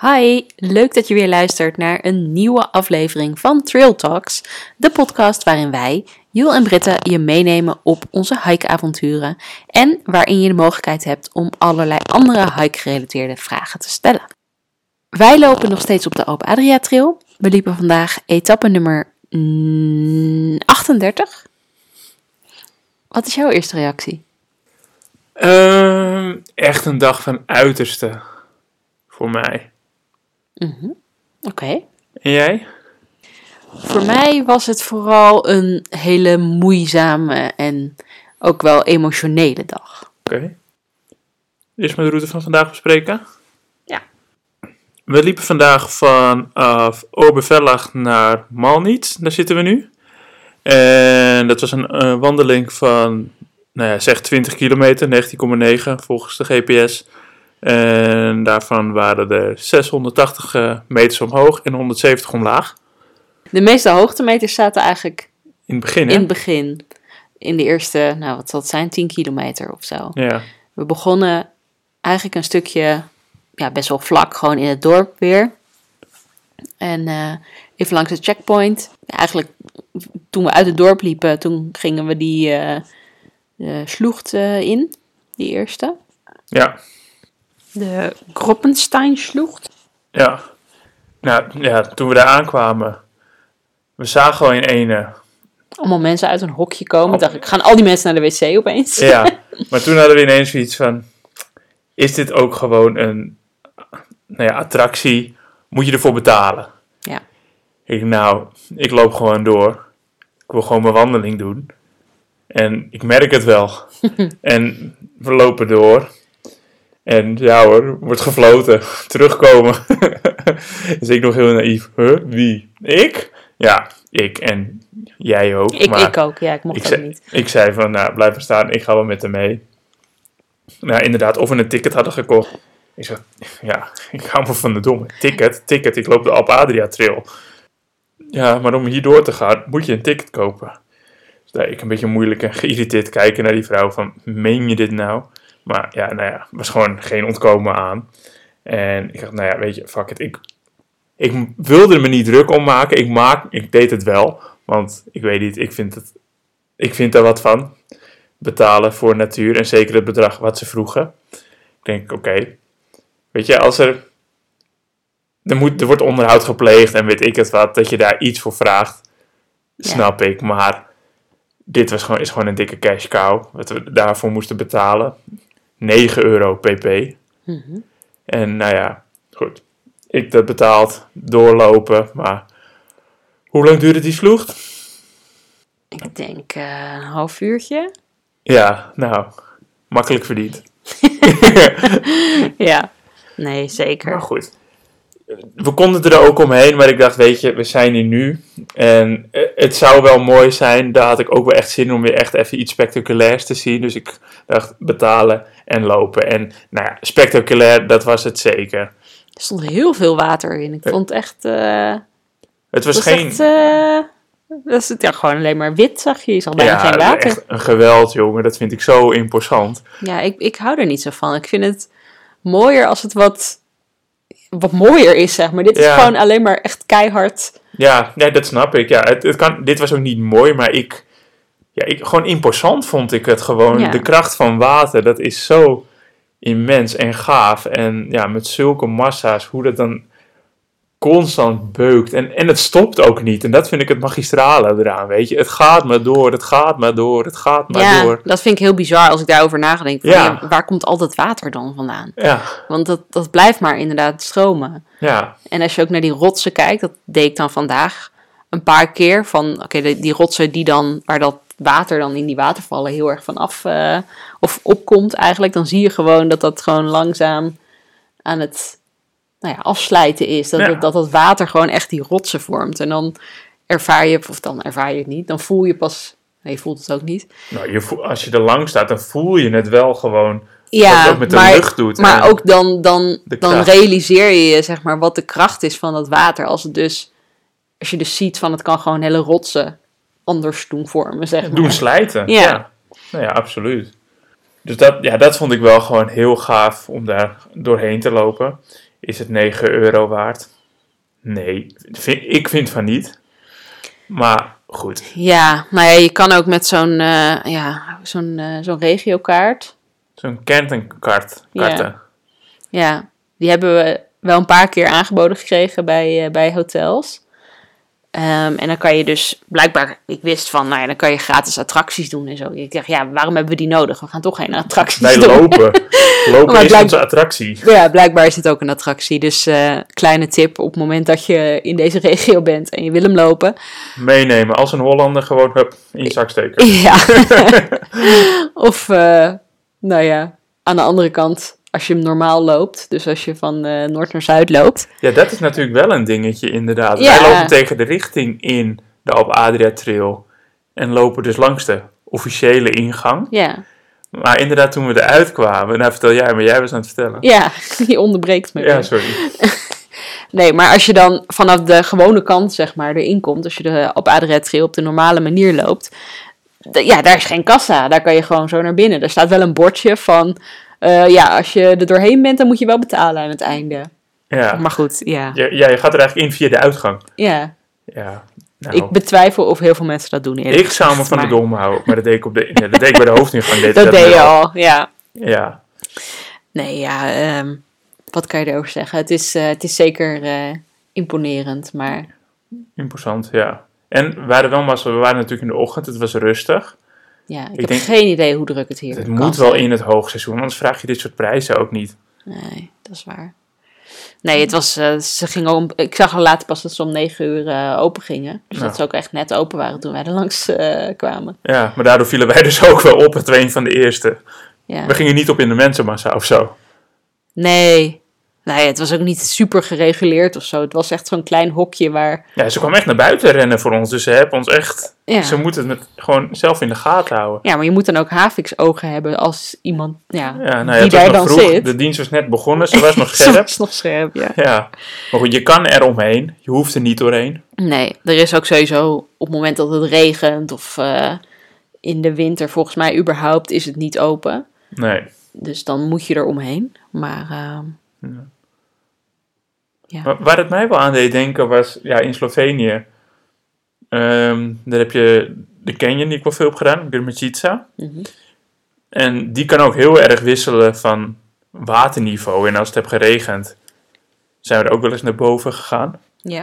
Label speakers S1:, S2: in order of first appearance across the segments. S1: Hi, leuk dat je weer luistert naar een nieuwe aflevering van Trail Talks, de podcast waarin wij, Jules en Britta, je meenemen op onze hikeavonturen en waarin je de mogelijkheid hebt om allerlei andere hike-gerelateerde vragen te stellen. Wij lopen nog steeds op de Alpe Adria Trail. We liepen vandaag etappe nummer mm, 38. Wat is jouw eerste reactie?
S2: Ehm, echt een dag van uiterste voor mij.
S1: Oké.
S2: En jij?
S1: Voor mij was het vooral een hele moeizame en ook wel emotionele dag.
S2: Oké. Eerst maar de route van vandaag bespreken.
S1: Ja.
S2: We liepen vandaag vanaf Obervellag naar Malniet. Daar zitten we nu. En dat was een eh, wandeling van, nou ja, zeg 20 kilometer, 19,9 volgens de GPS. En daarvan waren er 680 eh, meters omhoog en 170 omlaag.
S1: De meeste hoogtemeters zaten eigenlijk
S2: In het begin, hè?
S1: in het begin. In de eerste, nou wat zal het zijn, 10 kilometer of zo.
S2: Ja.
S1: We begonnen eigenlijk een stukje, ja best wel vlak, gewoon in het dorp weer. En eh, even langs de checkpoint. Ja, eigenlijk toen we uit het dorp liepen, toen gingen we die eh, eh, sloegt eh, in, die eerste.
S2: Ja.
S1: De Groppenstein-sloegt.
S2: Ja. Nou ja, toen we daar aankwamen, we zagen al in ene.
S1: Allemaal mensen uit een hokje komen. Ik dacht ik, gaan al die mensen naar de wc opeens?
S2: Ja, maar toen hadden we ineens zoiets van: is dit ook gewoon een nou ja, attractie? Moet je ervoor betalen?
S1: Ja.
S2: Ik, nou, ik loop gewoon door. Ik wil gewoon mijn wandeling doen. En ik merk het wel. en we lopen door. En ja hoor, wordt gefloten. Terugkomen. dus ik nog heel naïef. Huh? Wie? Ik? Ja, ik en jij ook.
S1: Ik,
S2: maar
S1: ik ook, ja, ik mocht
S2: ik
S1: ook
S2: zei,
S1: niet.
S2: ik zei van, nou, blijf maar staan, ik ga wel met hem mee. Nou, inderdaad, of we een ticket hadden gekocht. Ik zeg, ja, ik hou me van de domme. Ticket, ticket, ik loop de Alp Adria Trail. Ja, maar om hier door te gaan, moet je een ticket kopen. Dus daar ik een beetje moeilijk en geïrriteerd kijken naar die vrouw van, meen je dit nou? Maar ja, nou ja, was gewoon geen ontkomen aan. En ik dacht, nou ja, weet je, fuck it. Ik, ik wilde me niet druk om maken. Ik, maak, ik deed het wel. Want ik weet niet, ik vind het ik vind daar wat van. Betalen voor natuur en zeker het bedrag wat ze vroegen. Ik denk, oké. Weet je, als er. Er, moet, er wordt onderhoud gepleegd en weet ik het wat, dat je daar iets voor vraagt.
S1: Ja.
S2: Snap ik, maar. Dit was gewoon, is gewoon een dikke cash cow. Wat we daarvoor moesten betalen. 9 euro pp.
S1: Mhm.
S2: En nou ja, goed. Ik dat betaald, doorlopen, maar. Hoe lang duurde die sloeg?
S1: Ik denk eh, een half uurtje.
S2: Ja, nou, makkelijk verdiend.
S1: Ja, nee, zeker.
S2: Maar goed. We konden er ook omheen, maar ik dacht, weet je, we zijn hier nu. En eh, het zou wel mooi zijn, daar had ik ook wel echt zin in om weer echt even iets spectaculairs te zien. Dus ik dacht, betalen en lopen. En nou ja, spectaculair, dat was het zeker.
S1: Er stond heel veel water in. Ik vond het echt... eh het
S2: Het was,
S1: was
S2: geen...
S1: echt... eh, dat is het, ja, gewoon alleen maar wit, zag je. Je zag bijna
S2: ja,
S1: geen water.
S2: echt een geweld, jongen. Dat vind ik zo imposant.
S1: Ja, ik, ik hou er niet zo van. Ik vind het mooier als het wat, wat mooier is, zeg maar. Dit is
S2: Ja.
S1: gewoon alleen maar echt keihard.
S2: Ja, nee, dat snap ik. Ja, het, het kan, dit was ook niet mooi, maar ik, ja, ik... Gewoon imposant vond ik het gewoon.
S1: Ja.
S2: De kracht van water, dat is zo immens en gaaf. En ja, met zulke massa's, hoe dat dan constant beukt. En, en het stopt ook niet. En dat vind ik het magistrale eraan, weet je. Het gaat maar door, het gaat maar door, het gaat maar
S1: ja,
S2: door.
S1: dat vind ik heel bizar als ik daarover nagedenk. Van,
S2: Ja.
S1: ja, waar komt al dat water dan vandaan?
S2: Ja,
S1: Want dat, dat blijft maar inderdaad stromen.
S2: ja,
S1: En als je ook naar die rotsen kijkt, dat deed ik dan vandaag een paar keer. Van oké, de- die rotsen die dan, waar dat water dan in die watervallen heel erg vanaf eh of opkomt eigenlijk. Dan zie je gewoon dat dat gewoon langzaam aan het nou ja, afslijten is. Dat,
S2: Ja.
S1: dat, dat dat water gewoon echt die rotsen vormt. En dan ervaar je, of dan ervaar je het niet, dan voel je pas, nee, je voelt het ook niet.
S2: Nou, je voel- als je er lang staat, dan voel je het wel gewoon.
S1: Ja,
S2: Wat het ook met de lucht doet
S1: Maar
S2: en
S1: ook dan, dan,
S2: de
S1: dan
S2: kracht.
S1: realiseer je je, zeg maar, wat de kracht is van dat water. Als, het dus, als je dus ziet van het kan gewoon hele rotsen anders doen vormen, zeg maar.
S2: Doen slijten.
S1: Ja.
S2: Nou ja, absoluut. Dus dat, ja, dat vond ik wel gewoon heel gaaf om daar doorheen te lopen. Is het 9 euro waard? Nee, vind- ik vind van niet. Maar goed,
S1: Ja, nou ja, je kan ook met zo'n eh, ja, zo'n eh, zo'n regiokaart.
S2: zo'n kerntenkart.
S1: Ja.
S2: karten.
S1: Ja, die hebben we wel een paar keer aangeboden gekregen bij, eh, bij hotels. Ehm, en dan kan je dus, blijkbaar, ik wist van, nou ja, dan kan je gratis attracties doen en zo. Ik dacht, ja, waarom hebben we die nodig? We gaan toch geen attracties
S2: Wij
S1: doen.
S2: lopen. Lopen
S1: Maar
S2: is
S1: blijkt-
S2: onze attractie.
S1: Ja, blijkbaar is het ook een attractie. Dus eh, kleine tip, op het moment dat je in deze regio bent en je wil hem lopen.
S2: Meenemen als een Hollander gewoon hup, in je zak steken.
S1: Ja. of, eh, nou ja, aan de andere kant, als je hem normaal loopt. Dus als je van eh, noord naar zuid loopt.
S2: Ja, dat is natuurlijk wel een dingetje inderdaad.
S1: Ja.
S2: Wij lopen tegen de richting in de Alp Adria Trail. En lopen dus langs de officiële ingang.
S1: Ja,
S2: Maar inderdaad, toen we eruit kwamen... Nou, vertel jij, maar jij was aan het vertellen.
S1: ja je onderbreekt me.
S2: Ja,
S1: weer.
S2: sorry.
S1: Nee, maar als je dan vanaf de gewone kant, zeg maar, erin komt, als je de, op adrettrail op de normale manier loopt, d- ja, daar is geen kassa. Daar kan je gewoon zo naar binnen. Er staat wel een bordje van, eh, ja, als je er doorheen bent, dan moet je wel betalen aan het einde.
S2: Ja.
S1: Maar goed, ja.
S2: Ja, ja, je gaat er eigenlijk in via de uitgang.
S1: ja.
S2: Ja, nou,
S1: Ik
S2: ik,
S1: betwijfel of heel veel mensen dat doen. eerlijk
S2: zou me
S1: gezegd,
S2: van de
S1: maar
S2: dom houden. Maar dat deed ik, op de, ja, dat deed ik bij de hoofdingang. Deed ik
S1: Dat deed
S2: wel.
S1: je al, ja.
S2: Ja,
S1: Nee, ja, ehm, wat kan je erover zeggen? Het is, eh, het is zeker eh, imponerend, maar
S2: imposant, ja. En we waren wel maar zo- we waren natuurlijk in de ochtend. Het was rustig.
S1: ja, ik,
S2: Ik
S1: heb
S2: denk-
S1: geen idee hoe druk het hier
S2: Het
S1: kan
S2: moet
S1: zijn.
S2: wel in het hoogseizoen, anders vraag je dit soort prijzen ook niet.
S1: Nee, dat is waar. Nee, het was, eh, ze gingen om, ik zag al later pas dat ze om negen uur eh, open gingen. Dus dat
S2: Nou.
S1: ze ook echt net open waren toen wij er langs eh, kwamen.
S2: Ja, maar daardoor vielen wij dus ook wel op. Het was een van de eerste.
S1: Ja.
S2: We gingen niet op in de mensenmassa of zo.
S1: Nee. Nee, het was ook niet super gereguleerd of zo. Het was echt zo'n klein hokje waar...
S2: Ja, ze kwam echt naar buiten rennen voor ons. Dus ze hebben ons echt...
S1: Ja.
S2: Ze moeten het met, gewoon zelf in de gaten houden.
S1: ja, maar je moet dan ook haviksogen hebben als iemand ja,
S2: Ja, nou
S1: die
S2: ja, het was
S1: daar
S2: nog
S1: dan
S2: vroeg.
S1: zit.
S2: De dienst was net begonnen. Ze was nog
S1: Ze
S2: scherp.
S1: was nog scherp, ja.
S2: Ja. Maar goed, je kan er omheen. Je hoeft er niet doorheen.
S1: Nee, er is ook sowieso op het moment dat het regent of eh, in de winter volgens mij überhaupt is het niet open.
S2: Nee.
S1: Dus dan moet je er omheen. Maar ehm,
S2: Wa- Waar het mij wel aan deed denken was, ja, in Slovenië. ehm, daar heb je de canyon die ik wel veel heb gedaan, Grmetica.
S1: Mhm.
S2: En die kan ook heel erg wisselen van waterniveau. En als het hebt geregend, zijn we er ook wel eens naar boven gegaan.
S1: ja.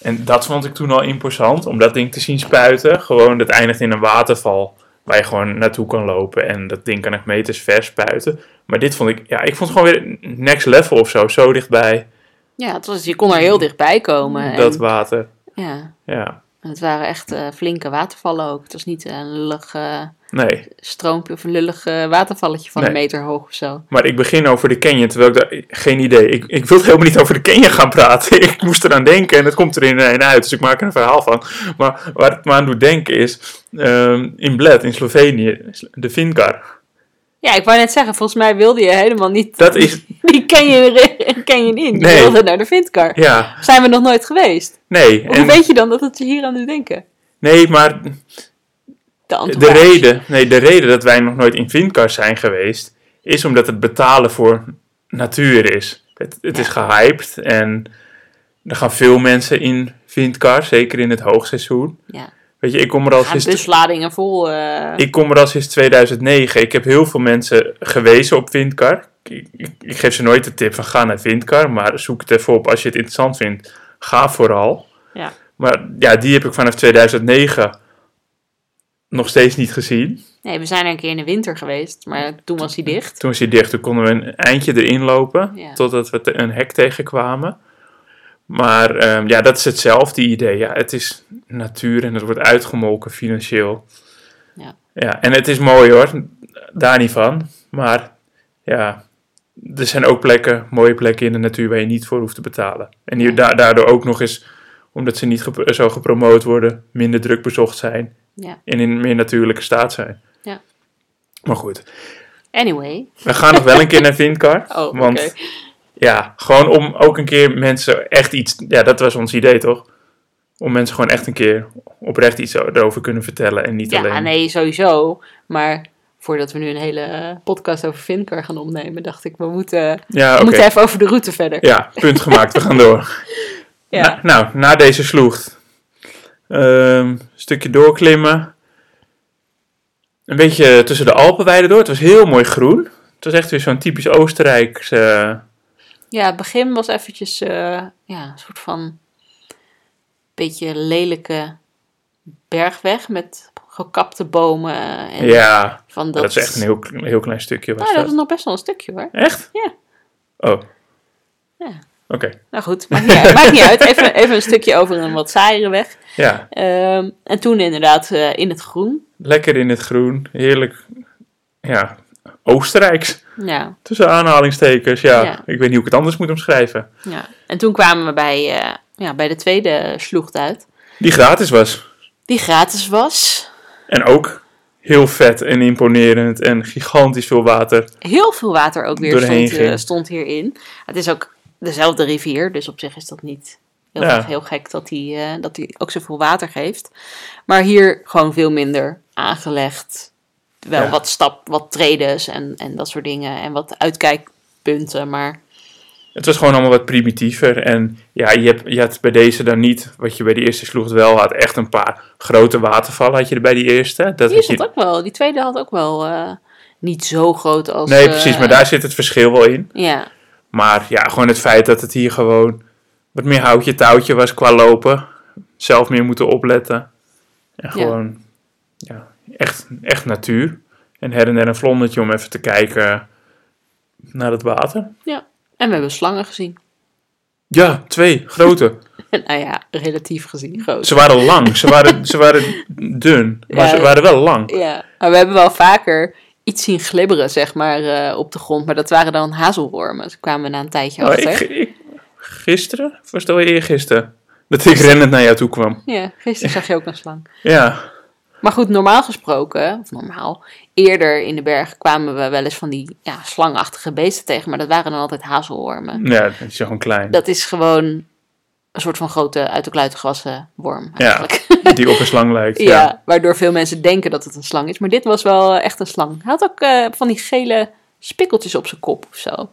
S2: En dat vond ik toen al imposant, om dat ding te zien spuiten. Gewoon, dat eindigt in een waterval waar je gewoon naartoe kan lopen. En dat ding kan echt meters ver spuiten. Maar dit vond ik, ja, ik vond het gewoon weer next level of zo. Zo dichtbij,
S1: ja, het was, je kon er heel dichtbij komen.
S2: dat
S1: en,
S2: water.
S1: ja,
S2: Ja,
S1: en het waren echt eh, flinke watervallen ook. Het was niet een lullig eh,
S2: nee.
S1: stroompje of een lullig eh, watervalletje van een
S2: Nee.
S1: meter hoog of zo.
S2: Maar ik begin over de Canyon, terwijl ik daar... Geen idee. Ik, ik wilde helemaal niet over de Canyon gaan praten. Ik moest eraan denken en het komt er in en uit. Dus ik maak er een verhaal van. Maar waar het me aan doet denken is... ehm, in Bled, in Slovenië, de Vinkar.
S1: Ja, ik wou net zeggen, volgens mij wilde je helemaal niet.
S2: Dat is...
S1: Die ken je, ken je niet. Je
S2: Nee.
S1: wilde naar de vindkar.
S2: Ja,
S1: Zijn we nog nooit geweest?
S2: nee.
S1: Hoe
S2: En,
S1: weet je dan dat het je hier aan doet denken?
S2: nee, maar
S1: De,
S2: de
S1: entourage.
S2: reden, nee, de reden dat wij nog nooit in Vinkar zijn geweest... is omdat het betalen voor natuur is. Het, het is gehyped en... Er gaan veel mensen in Vinkar, zeker in het hoogseizoen.
S1: Ja. dus-
S2: Weet je, ik kom er al
S1: Aan
S2: sinds
S1: busladingen vol. eh,
S2: Ik kom er al sinds 2009. Ik heb heel veel mensen gewezen op Vindkar. Ik, ik, ik geef ze nooit de tip van ga naar Vindkar, maar zoek het even op als je het interessant vindt. Ga vooral.
S1: ja.
S2: Maar ja, die heb ik vanaf 2009 nog steeds niet gezien.
S1: Nee, we zijn er een keer in de winter geweest, maar toen was hij dicht.
S2: Toen is hij dicht, toen konden we een eindje erin lopen,
S1: Ja.
S2: totdat we te- een hek tegenkwamen. Maar ehm, ja, dat is hetzelfde idee. Ja, het is natuur en het wordt uitgemolken financieel.
S1: Ja.
S2: ja, en het is mooi hoor, daar niet van. Maar ja, er zijn ook plekken, mooie plekken in de natuur waar je niet voor hoeft te betalen. En die, da- daardoor ook nog eens, omdat ze niet gep- zo gepromoot worden, minder druk bezocht zijn
S1: Ja.
S2: en in meer natuurlijke staat zijn.
S1: Ja.
S2: Maar goed,
S1: Anyway.
S2: we gaan nog wel een keer naar Vindkar.
S1: Oh, oké.
S2: want ja, gewoon om ook een keer mensen echt iets. Ja, dat was ons idee toch? Om mensen gewoon echt een keer oprecht iets erover kunnen vertellen en niet
S1: Ja,
S2: alleen.
S1: nee, sowieso. Maar voordat we nu een hele eh, podcast over Vinkar gaan opnemen, dacht ik, we moeten,
S2: Ja,
S1: we
S2: oké.
S1: moeten even over de route verder.
S2: Ja, punt gemaakt. We gaan door.
S1: Ja.
S2: Na- nou, na deze sloegt. Ehm stukje doorklimmen. Een beetje tussen de Alpenweiden door. Het was heel mooi groen. Het was echt weer zo'n typisch Oostenrijks... eh,
S1: Ja, het begin was eventjes eh, ja, een soort van beetje lelijke bergweg met gekapte bomen. En
S2: ja,
S1: van
S2: dat, is echt een heel, een heel klein stukje. Was
S1: Nou, dat
S2: dat.
S1: is nog best wel een stukje hoor.
S2: Echt?
S1: Ja.
S2: Oh.
S1: Ja.
S2: Oké,
S1: Nou goed, maakt niet uit. maakt niet uit. Even, even een stukje over een wat saaiere weg.
S2: ja.
S1: Ehm, en toen inderdaad eh, in het groen.
S2: Lekker in het groen. Heerlijk. Ja, Oostenrijks.
S1: Ja,
S2: Tussen aanhalingstekens, ja.
S1: Ja.
S2: Ik weet niet hoe ik het anders moet omschrijven.
S1: ja. En toen kwamen we bij, eh, ja, bij de tweede sloegt uit.
S2: Die gratis was.
S1: Die gratis was.
S2: En ook heel vet en imponerend en gigantisch veel water.
S1: Heel veel water ook weer
S2: Doorheen
S1: stond, eh,
S2: ging.
S1: stond hierin. Het is ook dezelfde rivier, dus op zich is dat niet heel,
S2: Ja.
S1: heel gek dat die, eh, dat die ook zoveel water geeft. Maar hier gewoon veel minder aangelegd. Wel
S2: Ja.
S1: wat stap, wat tredes en, en dat soort dingen. En wat uitkijkpunten, maar
S2: Het was gewoon allemaal wat primitiever. En ja, je, hebt, je had bij deze dan niet, wat je bij de eerste sloeg wel had, echt een paar grote watervallen had je er bij die eerste. Dat
S1: Die
S2: had je,
S1: stond ook wel. Die tweede had ook wel eh, niet zo groot als.
S2: nee,
S1: eh,
S2: precies, maar daar zit het verschil wel in.
S1: Ja,
S2: Maar ja, gewoon het feit dat het hier gewoon wat meer houtje touwtje was qua lopen. Zelf meer moeten opletten. En
S1: Ja.
S2: gewoon ja, echt, echt natuur. En her en der een vlondertje om even te kijken naar het water.
S1: ja. En we hebben slangen gezien.
S2: Ja, twee grote.
S1: nou ja, relatief gezien groot.
S2: Ze waren lang, ze waren, ze waren dun, maar
S1: Ja.
S2: ze waren wel lang.
S1: Ja, maar we hebben wel vaker iets zien glibberen, zeg maar, eh, op de grond. Maar dat waren dan hazelwormen. Ze kwamen we na een tijdje
S2: Oh,
S1: achter.
S2: ik, ik, gisteren, of was het al eergisteren, dat ik rennend naar jou toe kwam.
S1: Ja, gisteren zag je ook een slang.
S2: Ja,
S1: Maar goed, normaal gesproken, of normaal, eerder in de berg kwamen we wel eens van die ja, slangachtige beesten tegen. Maar dat waren dan altijd hazelwormen.
S2: ja dat is gewoon klein.
S1: Dat is gewoon een soort van grote, uit de kluiten gewassen worm
S2: ja,
S1: eigenlijk.
S2: die op een slang lijkt.
S1: Ja,
S2: Ja.
S1: waardoor veel mensen denken dat het een slang is. Maar dit was wel eh, echt een slang. Hij had ook eh, van die gele spikkeltjes op zijn kop of zo.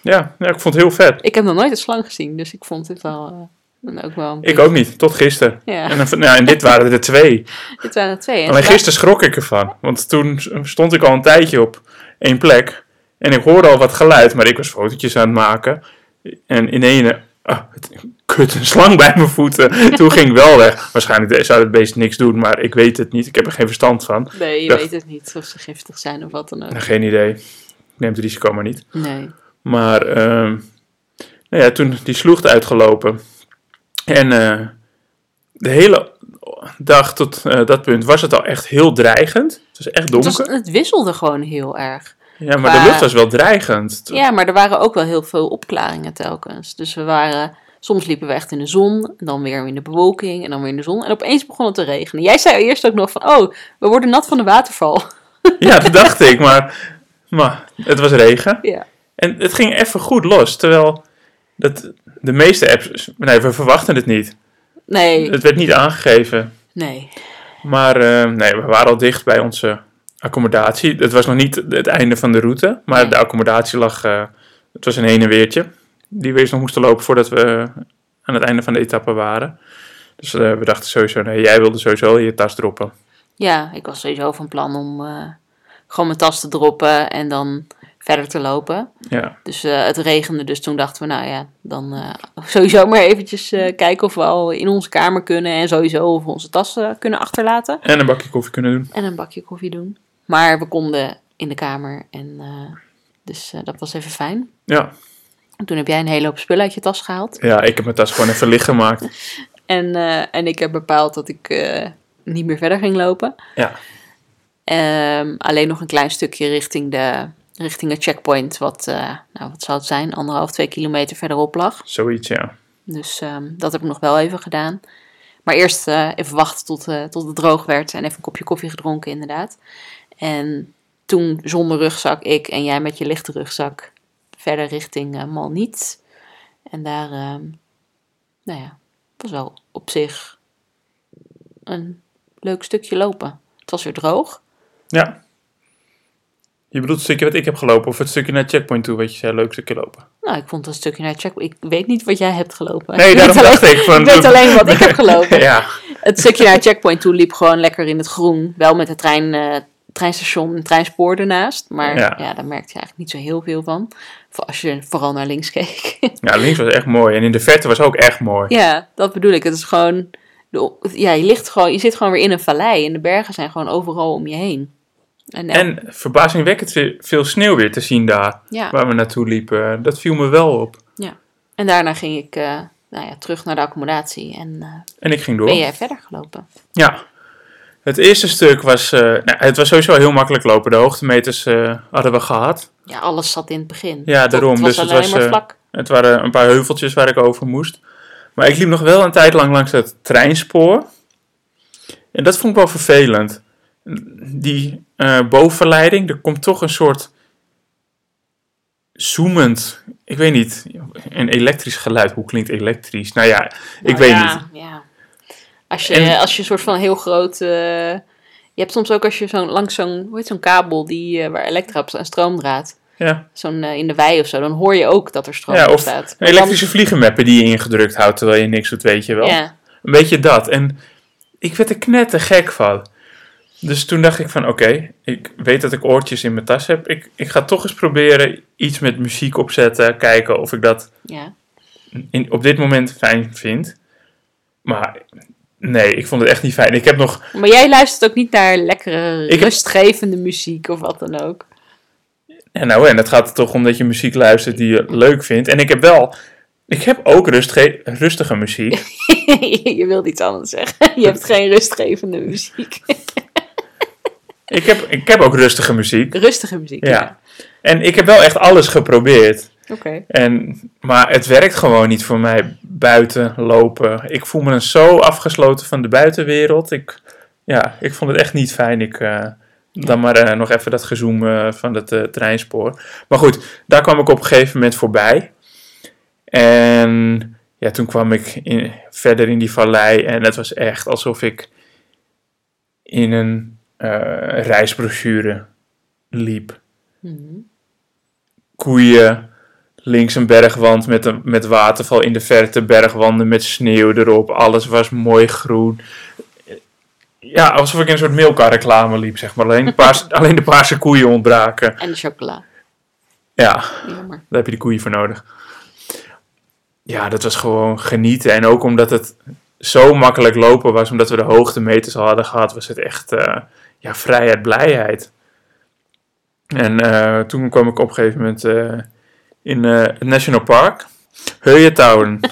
S2: Ja, ja, ik vond het heel vet.
S1: Ik heb nog nooit een slang gezien, dus ik vond dit wel, eh, dan ook wel een
S2: Ik ook niet, tot gisteren.
S1: Ja.
S2: En, dan van- nou, en dit waren er twee.
S1: Dit waren er twee. En
S2: Alleen
S1: toen-
S2: gisteren schrok ik ervan. Want toen stond ik al een tijdje op één plek. En ik hoorde al wat geluid, maar ik was fotootjes aan het maken. En in ene, ah, het- kut, een slang bij mijn voeten. Toen ging ik wel weg. Waarschijnlijk zou het beest niks doen, maar ik weet het niet. Ik heb er geen verstand van.
S1: Nee, je
S2: Ja.
S1: weet het niet of ze giftig zijn of wat dan ook.
S2: Nou, geen idee. Ik neem het risico maar niet.
S1: Nee.
S2: Maar ehm, nou ja, toen die sloeg uitgelopen. En eh, de hele dag tot eh, dat punt was het al echt heel dreigend. Het was echt
S1: Het,
S2: donker.
S1: was- het wisselde gewoon heel erg.
S2: Ja, maar de
S1: qua-
S2: lucht was wel dreigend.
S1: Ja, maar er waren ook wel heel veel opklaringen telkens. Dus we waren... Soms liepen we echt in de zon, en dan weer in de bewolking en dan weer in de zon. En opeens begon het te regenen. Jij zei eerst ook nog van, oh, we worden nat van de waterval.
S2: Ja, dat dacht ik, maar, maar het was regen.
S1: Ja.
S2: En het ging even goed los, terwijl dat, de meeste apps... Nee, we verwachten het niet.
S1: Nee,
S2: Het werd niet aangegeven.
S1: nee.
S2: Maar eh, nee, we waren al dicht bij onze accommodatie. Het was nog niet het einde van de route, maar
S1: Nee.
S2: de accommodatie lag. eh, het was een heen en weertje. Die we eerst nog moesten lopen voordat we eh, aan het einde van de etappe waren. Dus eh, we dachten sowieso, nee, jij wilde sowieso al je tas droppen.
S1: Ja, ik was sowieso van plan om eh, gewoon mijn tas te droppen en dan verder te lopen.
S2: Ja,
S1: Dus eh, het regende, dus toen dachten we, nou ja, dan eh, sowieso maar eventjes eh, kijken of we al in onze kamer kunnen en sowieso of we onze tassen kunnen achterlaten
S2: en een bakje koffie kunnen doen.
S1: en een bakje koffie doen. Maar we konden in de kamer en eh, dus eh, dat was even fijn.
S2: Ja,
S1: En toen heb jij een hele hoop spullen uit je tas gehaald.
S2: ja ik heb mijn tas gewoon even licht gemaakt.
S1: En, eh, en ik heb bepaald dat ik eh, niet meer verder ging lopen.
S2: Ja,
S1: Ehm, alleen nog een klein stukje richting, de, richting het checkpoint, wat, eh, nou, wat zou het zijn, anderhalf, twee kilometer verderop lag.
S2: zoiets, ja.
S1: Dus ehm, dat heb ik nog wel even gedaan. Maar eerst eh, even wachten tot, eh, tot het droog werd en even een kopje koffie gedronken, inderdaad. En toen zonder rugzak ik en jij met je lichte rugzak verder richting eh Malniet. En daar, ehm, nou ja, was wel op zich een leuk stukje lopen. Het was weer droog.
S2: Ja, Je bedoelt het stukje wat ik heb gelopen of het stukje naar checkpoint toe, wat je zei, leuk stukje lopen.
S1: Nou, ik vond dat stukje naar check. Ik weet niet wat jij hebt gelopen.
S2: Nee,
S1: ik weet
S2: daarom
S1: alleen,
S2: dacht ik van...
S1: ik weet alleen wat ik heb gelopen.
S2: Ja,
S1: Het stukje naar checkpoint toe liep gewoon lekker in het groen. Wel met het trein, eh, treinstation en treinspoor ernaast. Maar ja.
S2: Ja.
S1: daar merkte je eigenlijk niet zo heel veel van. Voor als je vooral naar links keek.
S2: ja, links was echt mooi en in de verte was ook echt mooi.
S1: ja, dat bedoel ik. Het is gewoon... de- Ja, je, ligt gewoon, je zit gewoon weer in een vallei. En de bergen zijn gewoon overal om je heen. En, nou,
S2: En verbazingwekkend ve- veel sneeuw weer te zien daar,
S1: ja.
S2: waar we naartoe liepen. Dat viel me wel op.
S1: en daarna ging ik eh, nou ja, terug naar de accommodatie. En eh,
S2: En ik ging door.
S1: ben jij verder gelopen.
S2: Ja. Het eerste stuk was... eh, nou, het was sowieso heel makkelijk lopen. De hoogtemeters eh, hadden we gehad.
S1: Ja, alles zat in het begin.
S2: Ja,
S1: Toch?
S2: daarom.
S1: Het was
S2: Dus het
S1: alleen
S2: was,
S1: maar
S2: eh,
S1: vlak.
S2: Het waren een paar heuveltjes waar ik over moest. Maar ik liep nog wel een tijd lang langs het treinspoor. En dat vond ik wel vervelend. Die eh, bovenleiding, er komt toch een soort zoemend, ik weet niet, een elektrisch geluid. Hoe klinkt elektrisch? Nou ja, ik
S1: Nou
S2: weet
S1: ja,
S2: niet.
S1: Ja. Als, je,
S2: En-
S1: als je een soort van heel groot. eh, je hebt soms ook als je zo'n langs zo'n hoe heet zo'n kabel die, eh, waar elektra op staat, een stroomdraad.
S2: Ja.
S1: Zo'n eh, in de wei of zo, dan hoor je ook Oh, dat er stroom
S2: Ja,
S1: op
S2: of
S1: staat.
S2: Een elektrische vliegenmeppen die je ingedrukt houdt terwijl je niks doet, weet je wel.
S1: Ja,
S2: Een beetje dat. En ik werd er knettergek van. Dus toen dacht ik van, oké, ik weet dat ik oortjes in mijn tas heb. Ik, ik ga toch eens proberen iets met muziek opzetten. Kijken of ik dat
S1: ja.
S2: in, op dit moment fijn vind. Maar nee, ik vond het echt niet fijn. Ik heb nog...
S1: Maar jij luistert ook niet naar lekkere,
S2: Ik heb-
S1: rustgevende muziek of wat dan ook.
S2: En nou, en dat gaat er toch om dat je muziek luistert die je leuk vindt. En ik heb wel... Ik heb ook rustge- rustige muziek.
S1: je wilt iets anders zeggen. Je hebt geen rustgevende muziek.
S2: Ik heb, ik heb ook rustige muziek.
S1: Rustige muziek. Ja.
S2: Ja. En ik heb wel echt alles geprobeerd.
S1: Oké.
S2: En, maar het werkt gewoon niet voor mij buiten lopen. Ik voel me dan zo afgesloten van de buitenwereld. Ik, ja, ik vond het echt niet fijn. Ik, eh, dan maar eh, nog even dat gezoem eh, van dat eh, treinspoor. Maar goed, daar kwam ik op een gegeven moment voorbij. En ja, toen kwam ik in- verder in die vallei. En het was echt alsof ik in een eh, reisbrochure liep
S1: Mhm.
S2: koeien. Links een bergwand met, een, met waterval in de verte, bergwanden met sneeuw erop. Alles was mooi groen. Ja, alsof ik in een soort Milka-reclame liep, zeg maar. Alleen de, paarse, alleen de paarse koeien ontbraken.
S1: En de chocola.
S2: Ja,
S1: Jammer.
S2: daar heb je de koeien voor nodig. Ja, dat was gewoon genieten. En ook omdat het zo makkelijk lopen was, omdat we de hoogtemeters al hadden gehad, was het echt eh, ja, vrijheid, blijheid. En eh, toen kwam ik op een gegeven moment eh, in eh, het National Park, Heuietown.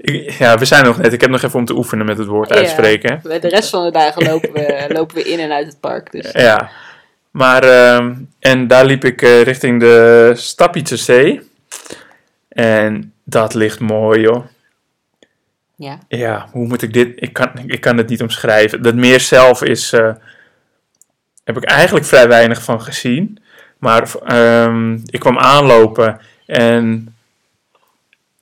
S2: Ik- ja, we zijn nog net. Ik heb nog even om te oefenen met het woord
S1: Ja.
S2: uitspreken. hè.
S1: De rest van de dagen lopen we, lopen we in en uit het park. Dus.
S2: Ja, maar ehm, en daar liep ik eh, richting de Stapietse En dat ligt mooi, joh.
S1: Ja.
S2: Ja, hoe moet ik dit? Ik kan, ik kan het niet omschrijven. Dat meer zelf is. eh, heb ik eigenlijk vrij weinig van gezien. Maar ehm, ik kwam aanlopen en.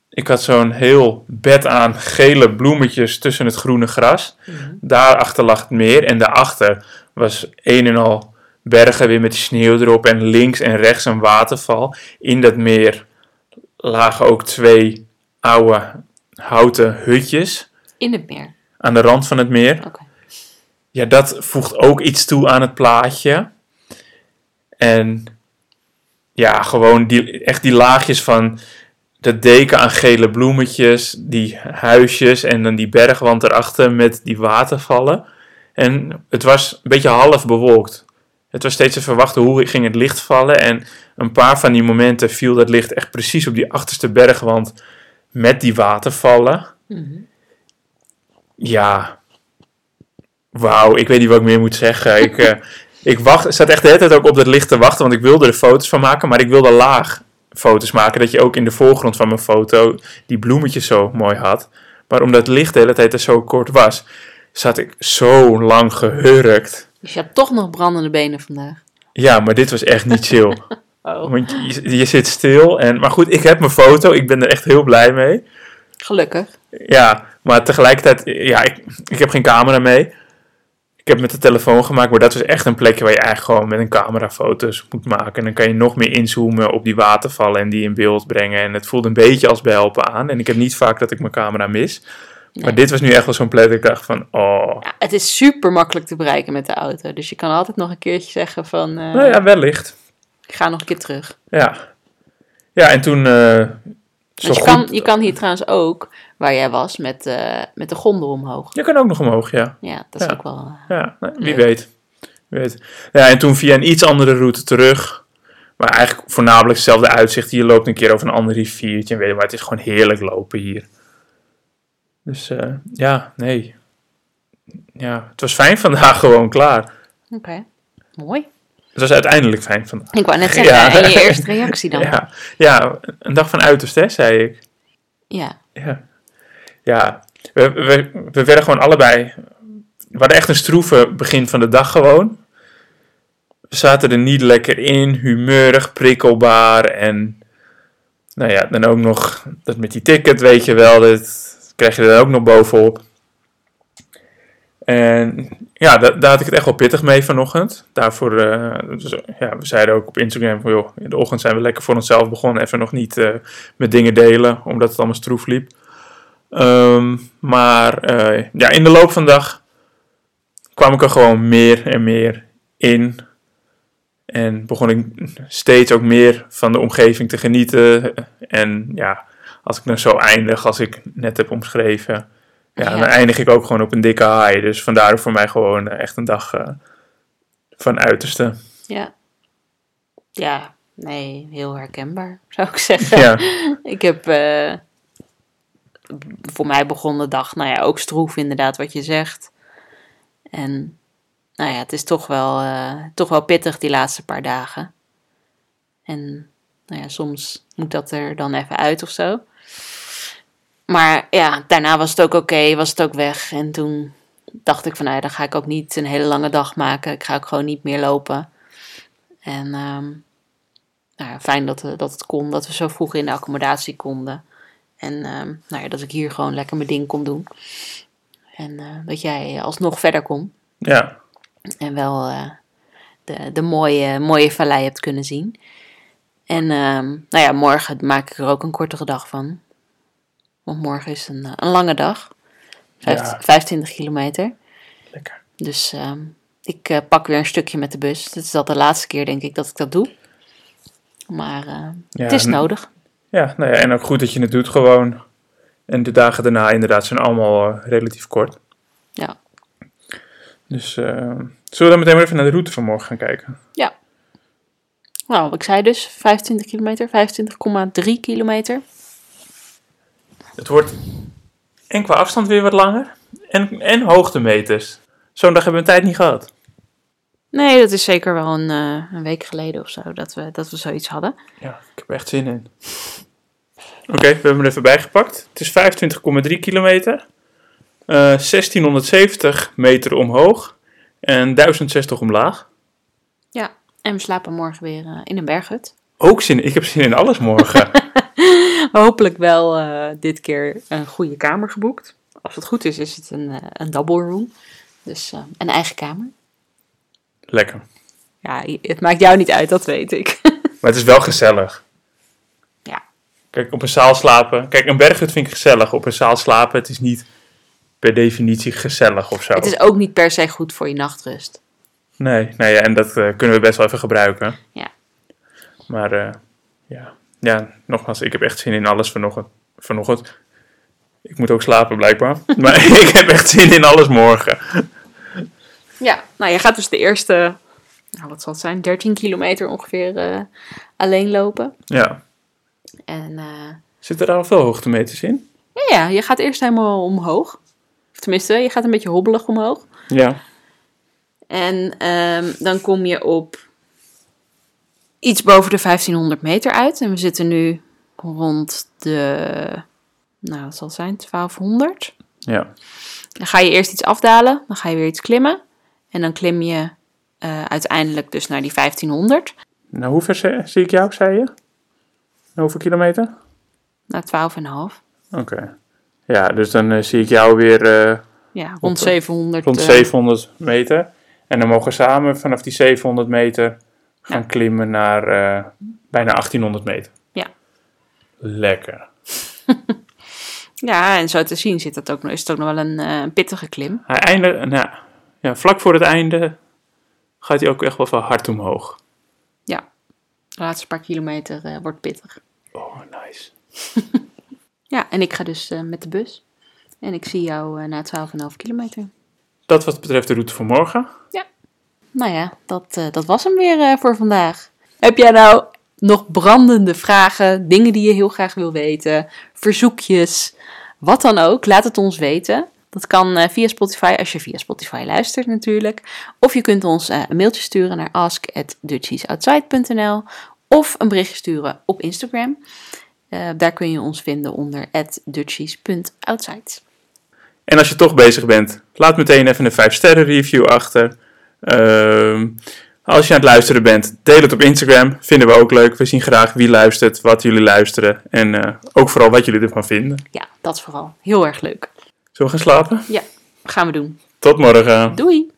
S2: Ik had zo'n heel bed aan gele bloemetjes tussen het groene gras.
S1: Mhm.
S2: Daarachter lag het meer en daarachter was een en al bergen weer met sneeuw erop en links en rechts een waterval. In dat meer lagen ook twee oude houten hutjes
S1: In het meer.
S2: aan de rand van het meer.
S1: Oké.
S2: Ja, dat voegt ook iets toe aan het plaatje. En ja, gewoon die, echt die laagjes van dat deken aan gele bloemetjes, die huisjes en dan die bergwand erachter met die watervallen. En het was een beetje half bewolkt. Het was steeds te verwachten hoe ging het licht vallen. En een paar van die momenten viel dat licht echt precies op die achterste bergwand met die watervallen.
S1: Mhm.
S2: Ja. Wauw, ik weet niet wat ik meer moet zeggen. Ik, eh, ik wacht, zat echt de hele tijd ook op dat licht te wachten, want ik wilde er foto's van maken, maar ik wilde laag foto's maken, dat je ook in de voorgrond van mijn foto die bloemetjes zo mooi had. Maar omdat het licht de hele tijd er zo kort was, zat ik zo lang gehurkt.
S1: Dus je hebt toch nog brandende benen vandaag.
S2: Ja, maar dit was echt niet chill.
S1: Oh.
S2: Want je, je zit stil. En, maar goed, ik heb mijn foto. Ik ben er echt heel blij mee.
S1: Gelukkig.
S2: Ja, maar tegelijkertijd, ja, ik, ik heb geen camera mee. Ik heb met de telefoon gemaakt, maar dat was echt een plekje waar je eigenlijk gewoon met een camera foto's moet maken. En dan kan je nog meer inzoomen op die watervallen en die in beeld brengen. En het voelde een beetje als bijhelpen aan. En ik heb niet vaak dat ik mijn camera mis. Maar dit was nu echt wel zo'n plek dat ik dacht van, oh.
S1: Ja, het is super makkelijk te bereiken met de auto. Dus je kan altijd nog een keertje zeggen van, eh,
S2: Nou ja, wellicht.
S1: ik ga nog een keer terug.
S2: Ja. Ja, en toen... eh zo
S1: Want je,
S2: goed-
S1: kan, je kan hier trouwens ook, waar jij was, met, eh, met de gondel omhoog.
S2: Je kan ook nog omhoog, ja.
S1: Ja, dat is
S2: Ja.
S1: ook wel... eh,
S2: Ja, nou, wie
S1: Ja.
S2: weet. Wie weet. Ja, en toen via een iets andere route terug. Maar eigenlijk voornamelijk hetzelfde uitzicht. Hier loopt een keer over een ander riviertje. En weet je, maar het is gewoon heerlijk lopen hier. Dus eh, ja, nee. Ja, het was fijn vandaag gewoon klaar.
S1: Oké, mooi.
S2: Het was uiteindelijk fijn vandaag.
S1: Ik wou net zeggen,
S2: Ja.
S1: en je eerste reactie dan.
S2: Ja, ja, een dag van uiterst, hè, zei ik.
S1: ja.
S2: Ja. Ja, we, we, we werden gewoon allebei. We hadden echt een stroeve begin van de dag gewoon. We zaten er niet lekker in, humeurig, prikkelbaar en. Nou ja, dan ook nog dat met die ticket, weet je wel, dat krijg je er dan ook nog bovenop. En ja, da- daar had ik het echt wel pittig mee vanochtend. Daarvoor, eh, dus, ja, we zeiden ook op Instagram van, joh, in de ochtend zijn we lekker voor onszelf begonnen. Even nog niet eh, met dingen delen, omdat het allemaal stroef liep. Ehm, maar eh, ja, in de loop van de dag kwam ik er gewoon meer en meer in. En begon ik steeds ook meer van de omgeving te genieten. En ja, als ik nou zo eindig, als ik net heb omschreven, ja,
S1: Ja.
S2: dan eindig ik ook gewoon op een dikke high. Dus vandaar voor mij gewoon eh, echt een dag eh, van uiterste.
S1: Ja. Ja, nee, heel herkenbaar, zou ik zeggen.
S2: Ja,
S1: Ik heb... eh, voor mij begon de dag, nou ja, ook stroef inderdaad, wat je zegt. En, nou ja, het is toch wel, eh, toch wel pittig die laatste paar dagen. En, nou ja, soms moet dat er dan even uit of zo. Maar ja, daarna was het ook oké, was het ook weg. En toen dacht ik van, nou ja, dan ga ik ook niet een hele lange dag maken. Ik ga ook gewoon niet meer lopen. En ehm, nou ja, fijn dat, eh, dat het kon, dat we zo vroeg in de accommodatie konden. En ehm, nou ja, dat ik hier gewoon lekker mijn ding kon doen. En eh, dat jij alsnog verder kon.
S2: ja,
S1: En wel eh, de, de mooie, mooie vallei hebt kunnen zien. En ehm, nou ja, morgen maak ik er ook een kortere dag van. Want morgen is een, eh, een lange dag. Vijf-
S2: Ja.
S1: 25 kilometer.
S2: lekker.
S1: Dus ehm, ik eh, pak weer een stukje met de bus. Dit is al de laatste keer, denk ik, dat ik dat doe. Maar eh,
S2: Ja,
S1: het is
S2: en-
S1: nodig.
S2: Ja, nou ja, en ook goed dat je het doet gewoon. En de dagen daarna inderdaad zijn allemaal eh, relatief kort.
S1: Ja.
S2: Dus eh, zullen we dan meteen maar even naar de route van morgen gaan kijken?
S1: Nou, wat ik zei dus, 25 kilometer, 25,3 kilometer.
S2: Het wordt en qua afstand weer wat langer. En, en hoogtemeters. Zo'n dag hebben we een tijd niet gehad.
S1: Nee, dat is zeker wel een, eh, een week geleden of zo dat we, dat we zoiets hadden.
S2: Ja, ik heb er echt zin in. Oké, we hebben hem er even bijgepakt. Het is 25,3 kilometer. eh, 1670 meter omhoog. En 1060 omlaag.
S1: Ja, en we slapen morgen weer eh, in een berghut.
S2: Ook zin Ik heb zin in alles morgen.
S1: Hopelijk wel eh, dit keer een goede kamer geboekt. Als het goed is, is het een, eh, een double room. Dus eh, een eigen kamer.
S2: Lekker.
S1: Ja, je- het maakt jou niet uit, dat weet ik.
S2: Maar het is wel gezellig.
S1: Ja.
S2: Kijk, op een zaal slapen. Kijk, een berghut vind ik gezellig. Op een zaal slapen, het is niet per definitie gezellig of zo.
S1: Het is ook niet per se goed voor je nachtrust.
S2: Nee, nou ja, en dat eh, kunnen we best wel even gebruiken.
S1: Ja.
S2: Maar eh, ja. ja, nogmaals, ik heb echt zin in alles vanochtend. vanochtend. Ik moet ook slapen blijkbaar. maar ik heb echt zin in alles morgen.
S1: Ja, nou je gaat dus de eerste, nou, wat zal het zijn, 13 kilometer ongeveer eh, alleen lopen.
S2: Ja.
S1: En eh,
S2: Zitten daar al veel hoogtemeters in?
S1: ja, ja, je gaat eerst helemaal omhoog. Of tenminste, je gaat een beetje hobbelig omhoog.
S2: Ja.
S1: En ehm, dan kom je op iets boven de 1500 meter uit. En we zitten nu rond de, nou wat zal het zijn, 1200.
S2: Ja.
S1: Dan ga je eerst iets afdalen, dan ga je weer iets klimmen. En dan klim je eh, uiteindelijk dus naar die 1500.
S2: Nou, hoe ver ze- zie ik jou, zei je? Hoeveel kilometer?
S1: Naar 12,5.
S2: Oké. Ja, dus dan eh, zie ik jou weer eh,
S1: Ja, rond 700.
S2: rond
S1: eh,
S2: 700 meter. En dan mogen we samen vanaf die 700 meter gaan klimmen naar eh, bijna 1800 meter.
S1: Ja.
S2: Lekker.
S1: Ja, en zo te zien zit dat ook, is het ook nog wel een eh, pittige klim.
S2: Hij einde, nou, ja, vlak voor het einde gaat hij ook echt wel van hard omhoog.
S1: Ja, de laatste paar kilometer eh, wordt pittig.
S2: Oh, nice.
S1: Ja, en ik ga dus eh, met de bus. En ik zie jou eh, na 12,5 kilometer.
S2: Dat wat betreft de route voor morgen.
S1: Nou ja, dat, eh, dat was hem weer eh, voor vandaag. Heb jij nou nog brandende vragen, dingen die je heel graag wil weten, verzoekjes, wat dan ook? Laat het ons weten. Dat kan eh, via Spotify, als je via Spotify luistert natuurlijk. Of je kunt ons eh, een mailtje sturen naar ask.dutchiesoutside.nl of een berichtje sturen op Instagram. Eh, daar kun je ons vinden onder dutchies.outside.
S2: En als je toch bezig bent, laat meteen even een 5-sterren review achter. Ehm, als je aan het luisteren bent, deel het op Instagram. Vinden we ook leuk. We zien graag wie luistert, wat jullie luisteren. En eh, ook vooral wat jullie ervan vinden.
S1: Ja, dat is vooral heel erg leuk.
S2: Zullen we gaan slapen?
S1: Ja, gaan we doen.
S2: Tot morgen.
S1: Doei!